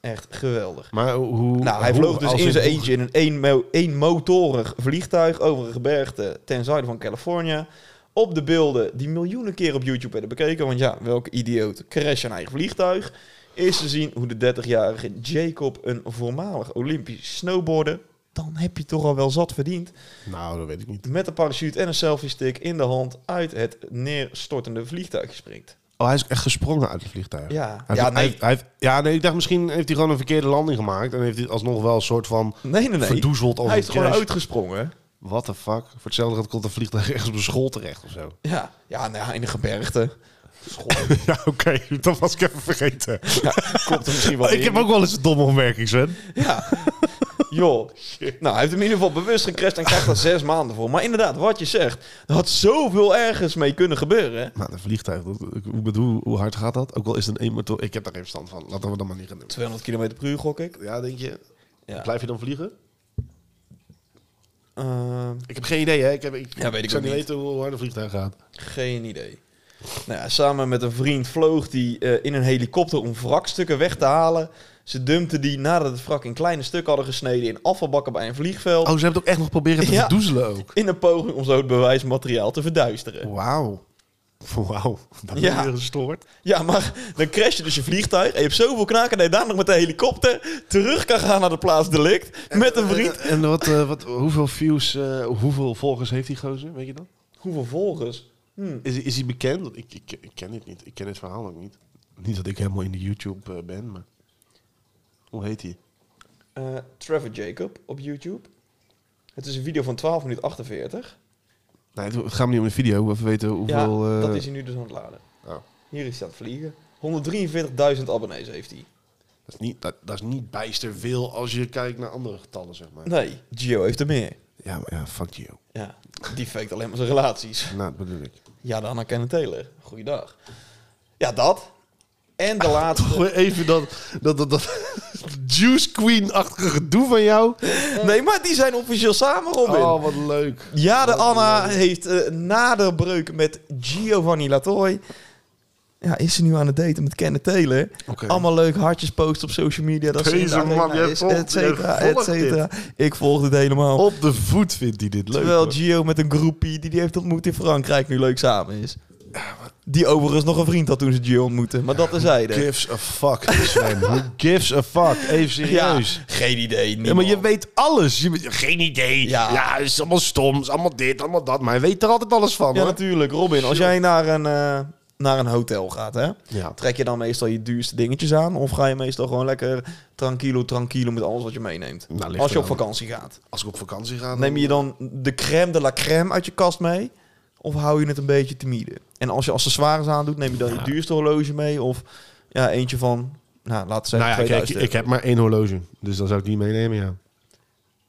S2: Echt geweldig.
S3: Maar hoe...
S2: Nou, hij
S3: hoe-
S2: vloog dus
S3: als
S2: in
S3: in
S2: zijn
S3: hoe-
S2: eentje in een eenmo- eenmotorig vliegtuig over een gebergte ten zuiden van Californië. Op de beelden die miljoenen keer op YouTube werden bekeken, want ja, welke idioot crasht een eigen vliegtuig, is te zien hoe de 30-jarige Jacob een voormalig Olympisch snowboarder, dan heb je toch al wel zat verdiend,
S3: Nou, dat weet ik niet.
S2: met een parachute en een selfie stick in de hand uit het neerstortende vliegtuig springt.
S3: Oh, hij is echt gesprongen uit het vliegtuig.
S2: Ja,
S3: Hij
S2: ja
S3: heeft- hij
S2: nee,
S3: heeft- hij heeft- ja, nee, ik dacht misschien heeft hij gewoon een verkeerde landing gemaakt. En heeft hij alsnog wel een soort van
S2: nee, nee, nee.
S3: verdoezeld als
S2: Hij
S3: een
S2: is gewoon
S3: crash.
S2: uitgesprongen.
S3: What the fuck? Voor hetzelfde geld komt een vliegtuig ergens op een school terecht of
S2: [laughs]
S3: zo.
S2: Ja, ja, nou ja, in de gebergte.
S3: ja, oké. Dat was ik even vergeten.
S2: [laughs] Klopt er misschien wel in.
S3: wel eens een domme opmerking, Sven.
S2: Ja. Joh. [laughs] Nou, hij heeft hem in ieder geval bewust gecrashed en krijgt er zes maanden voor. Maar inderdaad, wat je zegt, er had zoveel ergens mee kunnen gebeuren.
S3: Maar een vliegtuig, dat, ik bedoel, hoe, hoe hard gaat dat? Ook al is het een eenmotor... Ik heb daar geen verstand van. Laten we dat maar niet gaan doen.
S2: 200 km per uur, gok ik.
S3: Ja, denk je?
S2: Ja,
S3: Blijf je dan vliegen?
S2: Ehm,
S3: Ik heb geen idee, hè? Ik, heb, ik,
S2: Ja, weet ik
S3: zou
S2: ook
S3: niet
S2: niet.
S3: weten hoe hard een vliegtuig gaat.
S2: geen idee. Nou ja, samen met een vriend vloog die eh, in een helikopter om wrakstukken weg te halen. Ze dumpten die nadat het wrak in kleine stukken hadden gesneden in afvalbakken bij een vliegveld.
S3: Oh, ze hebben het ook echt nog proberen te
S2: Ja.
S3: verdoezelen ook.
S2: In een poging om zo het bewijsmateriaal te verduisteren.
S3: Wauw. Wauw. Dat
S2: Ja.
S3: is weer gestoord.
S2: Ja, maar dan crash je dus je vliegtuig. En je hebt zoveel knaken dat je daar nog met de helikopter terug kan gaan naar de plaats delict. Met een vriend.
S3: En, en wat, eh, wat, hoeveel views, eh, hoeveel volgers heeft die gozer? Weet je dat?
S2: Hoeveel volgers? Hm.
S3: Is, is hij bekend? Want Ik, ik, ik ken dit niet. Ik ken dit verhaal ook niet. Niet dat ik helemaal in de YouTube eh, ben, maar... Hoe heet hij?
S2: Eh, Trevor Jacob op YouTube. Het is een video van 12 minuten 48.
S3: Nee, het, het gaat me niet om de video. Even weten hoeveel...
S2: ja,
S3: eh,
S2: dat is hij nu dus aan het laden.
S3: oh,
S2: Hier is hij aan het vliegen. 143.000 abonnees heeft hij.
S3: dat, is niet, dat, dat is niet bijster veel als je kijkt naar andere getallen, zeg maar.
S2: Nee, Gio heeft er meer.
S3: Ja, maar ja, fuck you.
S2: Ja, die faked alleen maar zijn relaties.
S3: Nou, dat bedoel ik.
S2: Ja, de Anna Kenneth Taylor. Goeiedag. Ja, dat. En de laatste.
S3: Gooi even dat, dat, dat, dat [laughs] Juice Queen-achtige gedoe van jou.
S2: Nee, maar die zijn officieel samen, Robin.
S3: Oh, wat leuk.
S2: Ja, de Anna heeft eh, na de breuk met Giovanni Latoy. Ja, is ze nu aan het daten met Kenneth Taylor.
S3: Oké.
S2: Allemaal leuk hartjes posten op social media. Dat ze
S3: Deze
S2: in de arena
S3: man, jij
S2: is,
S3: volgt-
S2: et cetera,
S3: jij volgt
S2: et cetera. Ik volg dit helemaal.
S3: Op de voet vindt hij dit leuk.
S2: Terwijl
S3: hoor.
S2: Gio met een groepie die die heeft ontmoet in Frankrijk nu leuk samen is. Die overigens nog een vriend had toen ze Gio ontmoetten. Maar dat terzijde.
S3: gives a fuck, Sven. Who gives a fuck? Even
S2: Ja,
S3: serieus. Ja.
S2: geen idee. Niemand.
S3: maar je weet alles. Je, weet- geen idee.
S2: Ja.
S3: Ja. het is allemaal stom. Het is allemaal dit, allemaal dat. Maar hij weet er altijd alles van,
S2: Ja,
S3: hoor.
S2: natuurlijk. Robin, als jij naar een, eh, naar een hotel gaat, hè?
S3: Ja.
S2: Trek je dan meestal je duurste dingetjes aan? Of ga je meestal gewoon lekker tranquilo, tranquilo met alles wat je meeneemt?
S3: Nou, ligt
S2: als je op
S3: eraan.
S2: vakantie gaat.
S3: Als ik op vakantie ga... dan-
S2: Neem je dan de crème de la crème uit je kast mee? Of hou je het een beetje timide? En als je accessoires aandoet, neem je dan je duurste horloge mee? Of ja, eentje van, nou, laten we zeggen
S3: Nou ja, kijk,
S2: 2000
S3: ik heb maar één horloge. Dus dan zou ik die meenemen, ja.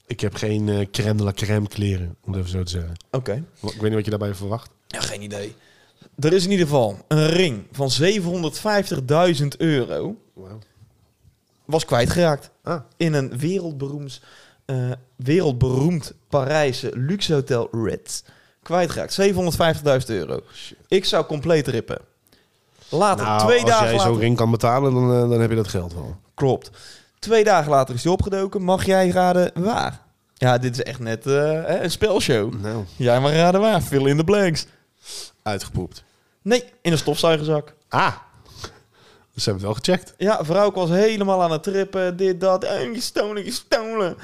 S3: Ik heb geen eh crème de la crème kleren, om het even zo te zeggen.
S2: Oké.
S3: Ik weet niet wat je daarbij verwacht.
S2: Ja, geen idee. Er is in ieder geval een ring van 750.000 euro.
S3: Wauw.
S2: Was kwijtgeraakt.
S3: Ah,
S2: in een wereldberoemd, eh, wereldberoemd Parijse luxe hotel Ritz kwijtgeraakt. 750.000 euro. Ik zou compleet rippen. Later,
S3: nou,
S2: twee
S3: als
S2: dagen
S3: jij zo'n
S2: later...
S3: ring kan betalen, dan, eh, dan heb je dat geld wel.
S2: Klopt. Twee dagen later is hij opgedoken. Mag jij raden waar? Ja, dit is echt net eh, hè, een spelshow.
S3: Nou,
S2: Jij mag raden waar. Fill in the blanks.
S3: uitgepoept.
S2: Nee, in een stofzuigerzak.
S3: Ah, dus ze hebben het wel gecheckt.
S2: Ja, vrouw was helemaal aan het trippen. Dit, dat. Eh, gestolen, gestolen.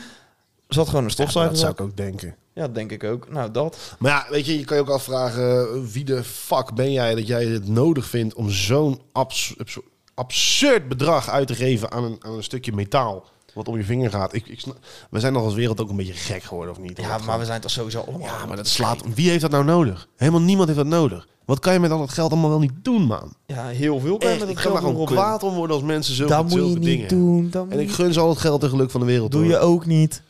S2: Zat gewoon in een
S3: dat zou
S2: stofzuigerzak.
S3: ik ook denken.
S2: Ja, denk ik ook. Nou, dat.
S3: Maar ja, weet je, je kan je ook afvragen... eh, wie de fuck ben jij dat jij het nodig vindt... om zo'n abs- abs- absurd bedrag uit te geven aan een, aan een stukje metaal? wat om je vinger gaat. Ik, ik snap- we zijn nog als wereld ook een beetje gek geworden, of niet?
S2: Ja, maar we zijn toch sowieso allemaal...
S3: Ja, maar dat slaat... Wie heeft dat nou nodig? Helemaal niemand heeft dat nodig. Wat kan je met al dat geld allemaal wel niet doen, man?
S2: Ja, heel veel bij
S3: Echt,
S2: met
S3: ik
S2: het
S3: kan
S2: geld van
S3: daar nou gewoon
S2: Robin.
S3: kwaad om worden als mensen zulke,
S2: Dat moet je
S3: zulke
S2: niet
S3: dingen.
S2: doen. Dat
S3: En ik
S2: moet-
S3: gun ze al het geld en geluk van de wereld.
S2: doe je ook niet.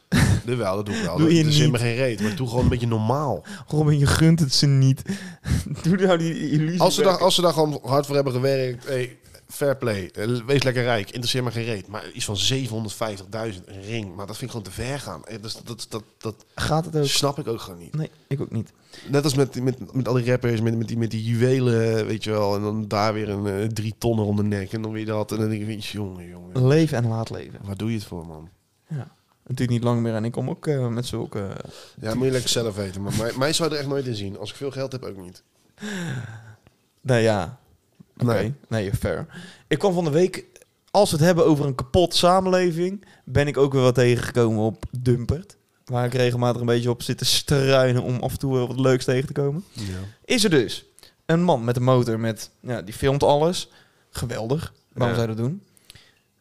S3: ook? wel, dat doe ik wel.
S2: Doe je
S3: dat is in
S2: niet.
S3: me geen reet, maar doe gewoon een beetje
S2: [laughs]
S3: normaal.
S2: Robin, je gunt het ze niet. [laughs] doe nou die illusie.
S3: Als ze,
S2: weg.
S3: daar, als ze daar gewoon hard voor hebben gewerkt, hey, fair play, eh, wees lekker rijk, interesseer me geen reet. Maar iets van 750.000, een ring, maar dat vind ik gewoon te ver gaan. Eh, Dus dat, dat, dat, dat
S2: Gaat het ook?
S3: snap ik ook gewoon niet.
S2: Nee, ik ook niet.
S3: Net als met, met, met al die rappers, met, met, die, met die juwelen, eh, weet je wel. En dan daar weer een eh, drie tonnen om de nek en dan weer dat. En dan denk ik, jongen, jongen,
S2: Leven en laat leven.
S3: waar doe je het voor, man?
S2: Ja. Het duurt niet lang meer en ik kom ook eh, met zulke...
S3: Ja, moet je lekker zelf weten. Maar mij, mij zou je er echt nooit in zien. Als ik veel geld heb, ook niet.
S2: Nou ja. Oké,
S3: Nee.
S2: nee. fair. Ik kwam van de week, als we het hebben over een kapot samenleving, ben ik ook weer wat tegengekomen op Dumpert. Waar ik regelmatig een beetje op zit te struinen om af en toe wel wat leuks tegen te komen.
S3: Ja.
S2: Is er dus een man met een motor met, ja, die filmt alles. Geweldig. Waarom
S3: Ja.
S2: zou je dat doen?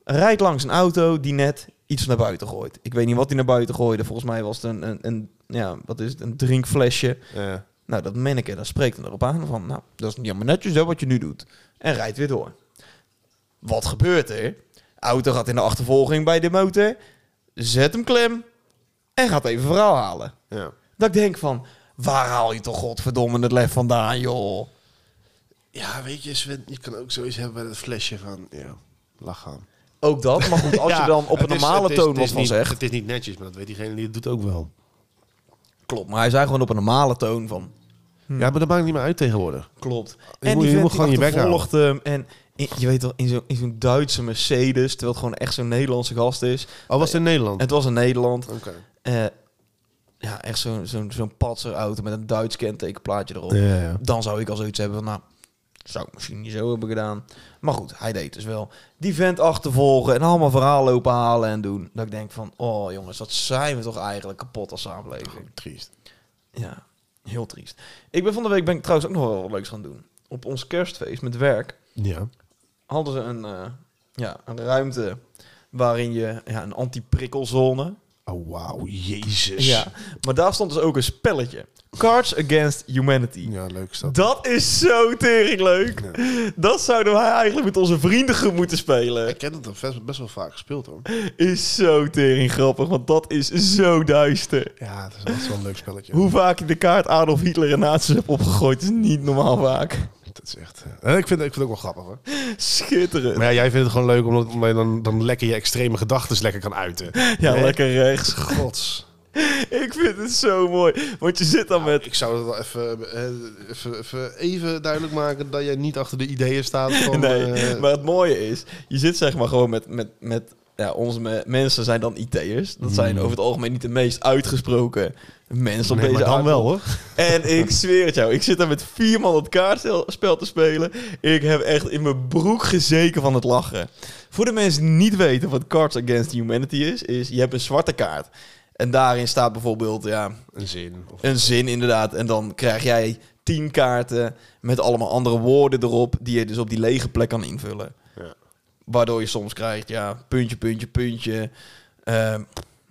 S2: Rijdt langs een auto die net iets naar buiten gooit. Ik weet niet wat hij naar buiten gooide. Volgens mij was het een, een, een, ja, wat is het, een drinkflesje. Nou, dat manneke, dat spreekt hem erop aan van, nou, dat is niet helemaal netjes hè, wat je nu doet. En rijdt weer door. Wat gebeurt er? Auto gaat in de achtervolging bij de motor, zet hem klem en gaat even verhaal halen.
S3: ja.
S2: Dat ik denk van, waar haal je toch godverdomme het lef vandaan, joh?
S3: Ja, weet je, Sven, je kan ook zoiets hebben bij dat flesje van, ja, lach aan.
S2: Ook dat, maar
S3: [laughs]
S2: goed, als je dan op een normale toon wat van
S3: niet,
S2: zegt.
S3: Het is niet netjes, maar dat weet diegene die het doet ook wel.
S2: Klopt, maar hij zei gewoon op een normale toon van, Hmm.
S3: Ja, maar dat maakt niet meer uit tegenwoordig.
S2: Klopt.
S3: Je
S2: en die
S3: moet- je
S2: vent
S3: moet gewoon
S2: die
S3: je bek
S2: achtervolgt hem. En in- je weet wel, in zo'n in zo'n Duitse Mercedes, terwijl het gewoon echt zo'n Nederlandse gast is.
S3: Al was het in Nederland.
S2: Het was in Nederland.
S3: Oké.
S2: eh, ja, echt zo'n zo'n zo'n patserauto met een Duits kentekenplaatje erop.
S3: Ja, ja.
S2: Dan zou ik al zoiets hebben van, nou, zou ik misschien niet zo hebben gedaan. Maar goed, hij deed dus wel. Die vent achtervolgen en allemaal verhaal lopen halen en doen. Dat ik denk van, oh jongens, wat zijn we toch eigenlijk kapot als samenleving.
S3: Triest.
S2: Ja, heel triest. Ik ben van de week ben ik trouwens ook nog wel wat leuks gaan doen. Op ons kerstfeest met werk
S3: Ja.
S2: hadden ze een, eh, ja, een ruimte waarin je ja, een anti-prikkelzone.
S3: Oh, wauw, jezus.
S2: Ja, maar daar stond dus ook een spelletje. Cards Against Humanity.
S3: Ja, leuk is dat.
S2: Dat is zo tering leuk. Dat zouden wij eigenlijk met onze vrienden gaan moeten spelen.
S3: Ik heb het al best, best wel vaak gespeeld, hoor.
S2: Is zo tering grappig, want dat is zo duister.
S3: Ja, het is altijd wel een leuk spelletje.
S2: Hoe vaak ik de kaart Adolf Hitler en nazi's heb opgegooid, is niet normaal vaak.
S3: Dat is echt... eh, ik, vind, ik vind het ook wel grappig, hoor.
S2: Schitterend.
S3: Maar ja, jij vindt het gewoon leuk omdat, omdat je dan, dan lekker je extreme gedachten lekker kan uiten.
S2: [laughs] Ja,
S3: Nee.
S2: lekker rechts.
S3: Gods.
S2: Ik vind het zo mooi. Want je zit dan met...
S3: Ik zou het wel even, eh, even, even, even duidelijk maken dat jij niet achter de ideeën staat van...
S2: Nee,
S3: eh,
S2: maar het mooie is... Je zit zeg maar gewoon met... met, met ja, onze me- mensen zijn dan IT'ers. Dat zijn over het algemeen niet de meest uitgesproken mensen op
S3: Hmm. nee,
S2: deze
S3: maar dan
S2: aarde.
S3: wel, hoor.
S2: En
S3: [laughs]
S2: ik zweer het jou. Ik zit daar met vier man het kaartspel te spelen. Ik heb echt in mijn broek gezeken van het lachen. Voor de mensen die niet weten wat Cards Against Humanity is... is je hebt een zwarte kaart. En daarin staat bijvoorbeeld... Ja,
S3: Een zin. Of...
S2: een zin inderdaad. En dan krijg jij tien kaarten met allemaal andere woorden erop... die je dus op die lege plek kan invullen.
S3: Ja.
S2: Waardoor je soms krijgt, ja, puntje, puntje, puntje. Ehm,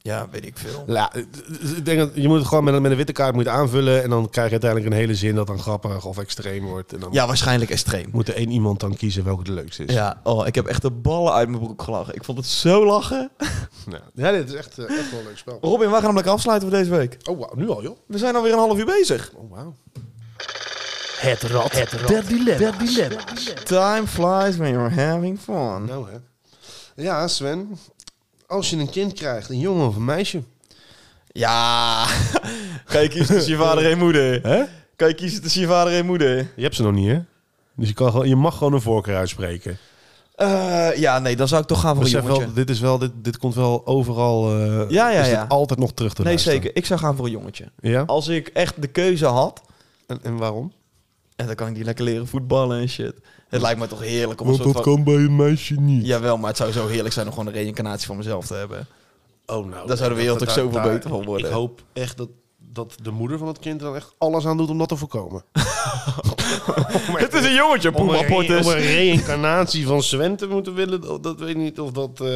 S2: ja, weet ik veel.
S3: Ja, ik denk dat je moet het gewoon met een, met een witte kaart moet je aanvullen. En dan krijg je uiteindelijk een hele zin dat dan grappig of extreem wordt. En dan
S2: Ja, waarschijnlijk extreem.
S3: moet er één iemand dan kiezen welke de leukste is.
S2: Ja, oh, ik heb echt de ballen uit mijn broek gelachen. Ik vond het zo lachen.
S3: ja. Ja, dit is echt, eh, echt wel een leuk spel.
S2: Robin, we gaan hem lekker afsluiten voor deze week.
S3: Oh, wauw, nu al joh.
S2: We zijn alweer een half uur bezig.
S3: Oh, wauw.
S4: Het rad, het rad der dilemma's.
S2: Time flies when you're having fun.
S3: Nou hè. Ja, Sven. Als je een kind krijgt, een jongen of een meisje.
S2: Ja. [laughs] Kan je kiezen tussen dus je vader en je moeder?
S3: Hè?
S2: Kan je kiezen tussen dus je vader en je moeder?
S3: Je hebt ze nog niet, hè? Dus je, kan gewoon, je mag gewoon een voorkeur uitspreken.
S2: Eh, ja, nee, dan zou ik toch gaan voor een
S3: Besef
S2: jongetje.
S3: wel, dit, is wel, dit, dit komt wel overal. eh,
S2: Ja, ja,
S3: is dit
S2: ja.
S3: altijd nog terug te
S2: Nee,
S3: luisteren.
S2: zeker. Ik zou gaan voor een jongetje.
S3: Ja?
S2: Als ik echt de keuze had...
S3: En, en waarom?
S2: En dan kan ik die lekker leren voetballen en shit. Het lijkt me toch heerlijk om een
S3: Want
S2: soort
S3: dat
S2: van...
S3: kan bij een meisje niet.
S2: Jawel, maar het zou zo heerlijk zijn om gewoon een reïncarnatie van mezelf te hebben.
S3: Oh, nou.
S2: Daar zou de wereld ook zoveel beter van worden.
S3: Ik hoop echt dat, dat de moeder van het kind er dan echt alles aan doet om dat te
S2: [laughs]
S3: voorkomen.
S2: Het is een jongetje, dus.
S3: Om
S2: Puma
S3: een, re- om
S2: Portus.
S3: een reïncarnatie van Sven te moeten willen, dat, dat weet ik niet of dat... eh,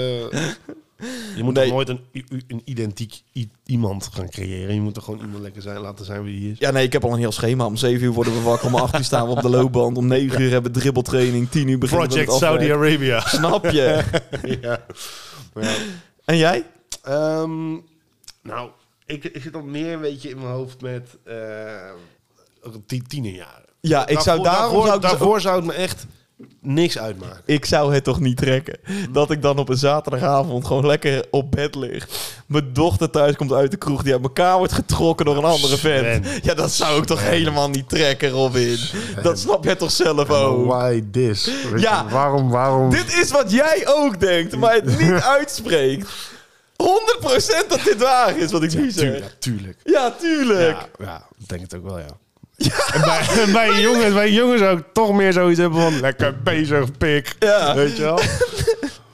S3: Je moet
S2: Nee.
S3: toch nooit een, i- i- een identiek i- iemand gaan creëren. Je moet er gewoon iemand lekker zijn, laten zijn wie hij is.
S2: Ja, nee, ik heb al een heel schema. Om 7 uur worden we wakker, om 8 uur staan we op de loopband, om 9 uur hebben we dribbeltraining, 10 uur beginnen we met
S3: Project
S2: het
S3: Saudi
S2: afwerken. [laughs]
S3: Arabia.
S2: Snap je?
S3: [laughs] ja. Maar ja.
S2: En jij?
S3: Ehm, nou, ik, ik zit al meer een beetje in mijn hoofd met eh, ook tien, tienerjaren.
S2: Ja, ik zou daarom
S3: daarvoor,
S2: zou ik dus
S3: daarvoor zou het me echt niks uitmaken.
S2: Ik zou het toch niet trekken.
S3: Mm.
S2: Dat ik dan op een zaterdagavond gewoon lekker op bed lig. Mijn dochter thuis komt uit de kroeg die uit elkaar wordt getrokken door een andere
S3: Sven.
S2: vent. Ja, dat zou ik toch helemaal niet trekken, Robin. Dat snap jij toch zelf ook.
S3: Why this? Weet
S2: Oh. Ja.
S3: je, Waarom, waarom?
S2: Dit is wat jij ook denkt, maar het
S3: [laughs]
S2: niet uitspreekt. 100% dat dit waar is wat ik nu zeg.
S3: Tuurlijk, ja, tuurlijk.
S2: Ja, tuurlijk.
S3: Ja, ja, ik denk het ook wel, ja. [laughs] En bij, en bij, een jongen, bij een jongen zou ik toch meer zoiets hebben van... Lekker bezig, pik.
S2: Ja. [laughs]
S3: Weet je wel?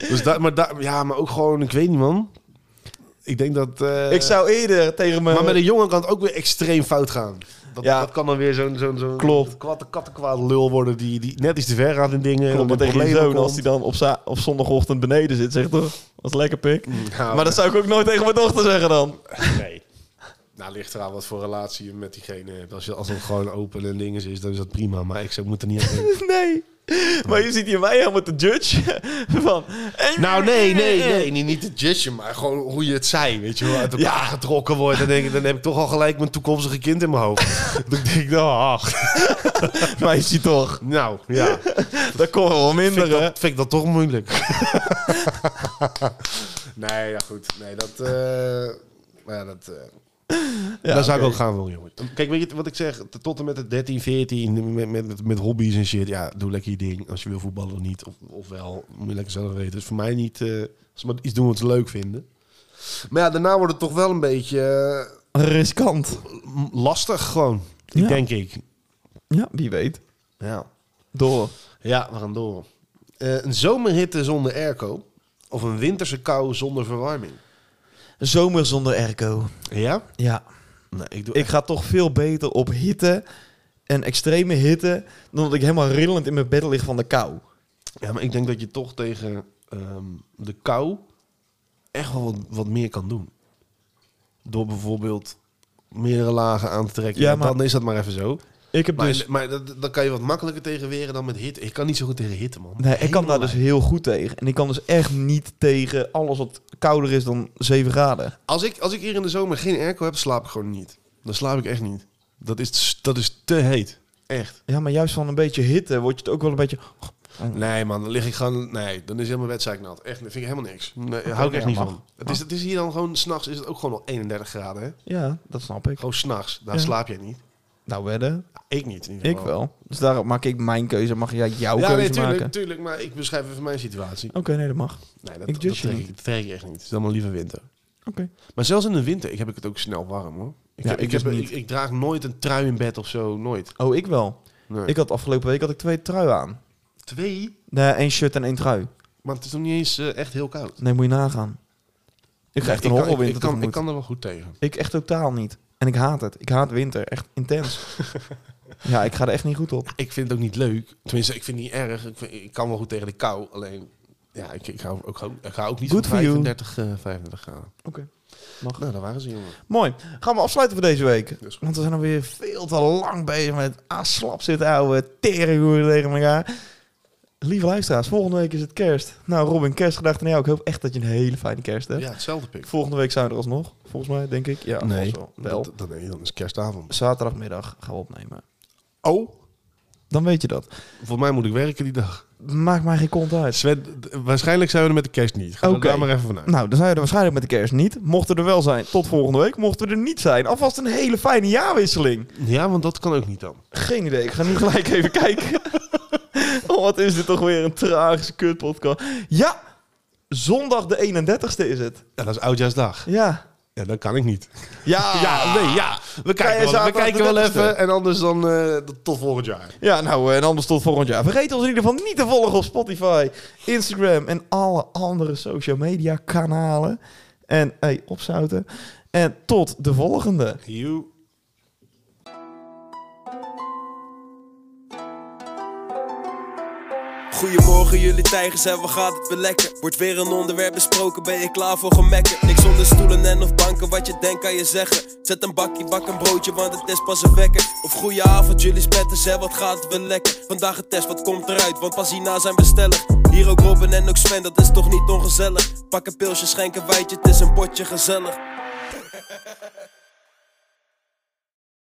S3: dus dat, maar, dat, ja, maar ook gewoon, ik weet niet, man. Ik denk dat... eh,
S2: Ik zou eerder tegen mijn...
S3: Maar met een jongen kan het ook weer extreem fout gaan. Dat,
S2: Ja.
S3: dat kan dan weer zo'n zo'n zo'n
S2: Klopt.
S3: kwatte- kattenkwaad lul worden die, die net iets te ver gaat in dingen. en
S2: Klopt,
S3: dan
S2: maar
S3: in
S2: tegen je
S3: problemen
S2: zoon, als
S3: komt.
S2: hij dan op, za- op zondagochtend beneden zit, zegt toch, was lekker pik.
S3: Nou,
S2: Maar dat zou ik ook nooit tegen mijn dochter zeggen
S3: [laughs]
S2: dan.
S3: Nee. Nou, ligt eraan wat voor relatie je met diegene hebt. Als, je, als het gewoon open en dingen is, dan is dat prima. Maar ik zou moet er niet aan denken.
S2: Nee. [laughs] Maar je ziet hier mij helemaal te judge [laughs] van... en-
S3: [laughs] Nou, nee, nee, nee. Niet, niet te judgen, maar gewoon hoe je het zei. Weet je wel, uit elkaar getrokken wordt. Dan, denk ik, dan heb ik toch al gelijk mijn toekomstige kind in mijn hoofd. [laughs] dan
S2: [laughs]
S3: denk ik, nou, [laughs] ach.
S2: Maar je ziet "Oh." toch,
S3: Nou, ja.
S2: dat komt wel
S3: Vind
S2: minder,
S3: ik,
S2: hè?
S3: dat, vind ik dat toch moeilijk. [laughs] nee, ja, goed. Nee, dat... eh, maar ja, dat... eh
S2: Ja,
S3: daar zou
S2: oké.
S3: ik ook gaan willen, jongen. Kijk, weet je wat ik zeg? Tot en met het 13, 14, met, met, met, met hobby's en shit. Ja, doe lekker je ding. Als je wil voetballen of niet. Of, of wel, moet je lekker zelf weten. Dus voor mij niet... eh, als we maar iets doen wat ze leuk vinden. Maar ja, daarna wordt het toch wel een beetje eh,
S2: Riskant.
S3: m- lastig gewoon.
S2: Ja.
S3: Denk ik.
S2: Ja, wie weet.
S3: Ja.
S2: Door.
S3: Ja, we gaan door. Eh, een zomerhitte zonder airco of een winterse kou zonder verwarming?
S2: Zomer zonder airco.
S3: Ja?
S2: Ja.
S3: Nee, ik doe
S2: Ik ga toch veel beter op hitte en extreme hitte... dan dat ik helemaal rillend in mijn bed lig van de kou.
S3: Ja, maar ik denk dat je toch tegen ehm, de kou echt wel wat, wat meer kan doen. Door bijvoorbeeld meerdere lagen aan te trekken.
S2: Ja,
S3: Ja,
S2: maar-
S3: Dan is dat maar even zo.
S2: Ik heb
S3: Maar,
S2: dus...
S3: maar dat, dat kan je wat makkelijker tegen weren dan met hitte. Ik kan niet zo goed tegen hitte, man.
S2: Nee, ik kan daar
S3: Helemaal
S2: dus heel goed tegen. En ik kan dus echt niet tegen alles wat kouder is dan 7 graden.
S3: Als ik, als ik hier in de zomer geen airco heb, slaap ik gewoon niet. Dan slaap ik echt niet. Dat is, dat is te heet. Echt.
S2: Ja, maar juist van een beetje hitte word je het ook wel een beetje...
S3: Nee, man, dan lig ik gewoon. Nee, dan is helemaal wedstrijdnat. Echt, dat vind ik helemaal niks. Nee, daar hou ik echt
S2: ja,
S3: niet
S2: mag.
S3: van. Het is, het is hier dan gewoon, s'nachts is het ook gewoon al 31 graden. Hè?
S2: Ja, dat snap ik.
S3: Gewoon s'nachts, daar
S2: Ja.
S3: slaap jij niet.
S2: Nou, wedden?
S3: Ik niet. In ieder
S2: Ik
S3: geval.
S2: wel. Dus daarop maak ik mijn keuze. Mag jij jouw
S3: Ja,
S2: keuze
S3: nee, tuurlijk,
S2: maken?
S3: tuurlijk, maar ik beschrijf even mijn situatie.
S2: Oké, nee, dat mag.
S3: Nee, dat,
S2: Ik
S3: dat,
S2: judge je
S3: trek ik,
S2: niet.
S3: dat trek ik echt niet. Het is allemaal liever winter.
S2: Oké.
S3: Maar zelfs in de winter ik heb ik het ook snel warm hoor. Ik,
S2: Ja,
S3: heb,
S2: ik
S3: ik,
S2: dus
S3: heb,
S2: niet.
S3: ik, ik draag nooit een trui in bed of zo, nooit.
S2: Oh, ik wel.
S3: Nee.
S2: Ik had afgelopen week had ik twee trui aan.
S3: Twee,
S2: Nee, één shirt en één trui.
S3: maar het is nog niet eens eh, echt heel koud.
S2: Nee, moet je nagaan. Ik ga echt een
S3: ik, kan, ik-
S2: horrorwinter
S3: ik, kan, ik
S2: tegemoet.
S3: kan er wel goed tegen.
S2: Ik echt totaal niet. En ik haat het. Ik haat winter. Echt
S3: [laughs]
S2: intens. ja, ik ga er echt niet goed op.
S3: Ik vind het ook niet leuk. Tenminste, ik vind het niet erg. Ik, vind- ik kan wel goed tegen de kou. Alleen, ja, ik, ik, hou, ook, gewoon- ik hou ook niet
S2: Good
S3: van
S2: for you.
S3: 35, eh, 35 graden.
S2: Oké.
S3: Nou, daar waren ze, jongen.
S2: Mooi. Gaan we afsluiten voor deze week.
S3: is goed.
S2: Want we zijn alweer veel te lang bezig met ah, slap zitten ouwe, teringhoeren tegen elkaar. Lieve luisteraars, volgende week is het kerst. Nou Robin, kerstgedachten naar jou. Ik hoop echt dat je een hele fijne kerst hebt.
S3: Ja, hetzelfde pik.
S2: Volgende week zijn we er alsnog, volgens mij, denk ik. Ja,
S3: nee,
S2: volgens wel. wel.
S3: Dat, dat, nee, dan is kerstavond.
S2: Zaterdagmiddag gaan we opnemen.
S3: Oh,
S2: Dan weet je dat.
S3: voor mij moet ik werken die dag.
S2: Maakt mij geen kont uit.
S3: Sven, d- waarschijnlijk zijn we er met de kerst niet. Ga
S2: Oké.
S3: okay. daar maar even vanuit.
S2: Nou, dan zijn we er waarschijnlijk met de kerst niet. Mochten we er wel zijn, tot volgende week. Mochten we er niet zijn, alvast een hele fijne jaarwisseling.
S3: Nou, Ja, want dat kan ook niet dan.
S2: Geen idee. Ik ga nu gelijk even [laughs] kijken. oh, wat is dit toch weer een tragische kutpodcast. Ja, zondag de 31ste is het.
S3: Ja, dat is oudjaarsdag.
S2: Ja.
S3: Ja, dat kan ik niet.
S2: Ja.
S3: Ja, nee, ja. We
S2: jij
S3: kijken wel, we
S2: zaterdag
S3: kijken
S2: de
S3: wel
S2: 30e?
S3: even. En anders dan eh, tot volgend jaar.
S2: Ja, nou, en anders tot volgend jaar. Vergeet ons in ieder geval niet te volgen op Spotify, Instagram en alle andere social media kanalen. En, hey, opzouten. En tot de volgende.
S3: You.
S1: Goedemorgen jullie tijgers en wat gaat het weer lekker? Wordt weer een onderwerp besproken, ben je klaar voor gemekken? Niks onder stoelen en of banken, wat je denkt kan je zeggen Zet een bakje, bak een broodje, want het is pas een wekker Of goeie avond jullie spetters en wat gaat het weer lekker? Vandaag een test, wat komt eruit, want pas hierna zijn bestellig Hier ook Robin en ook Sven, dat is toch niet ongezellig? Pak een pilsje, schenk een wijtje, het is een potje gezellig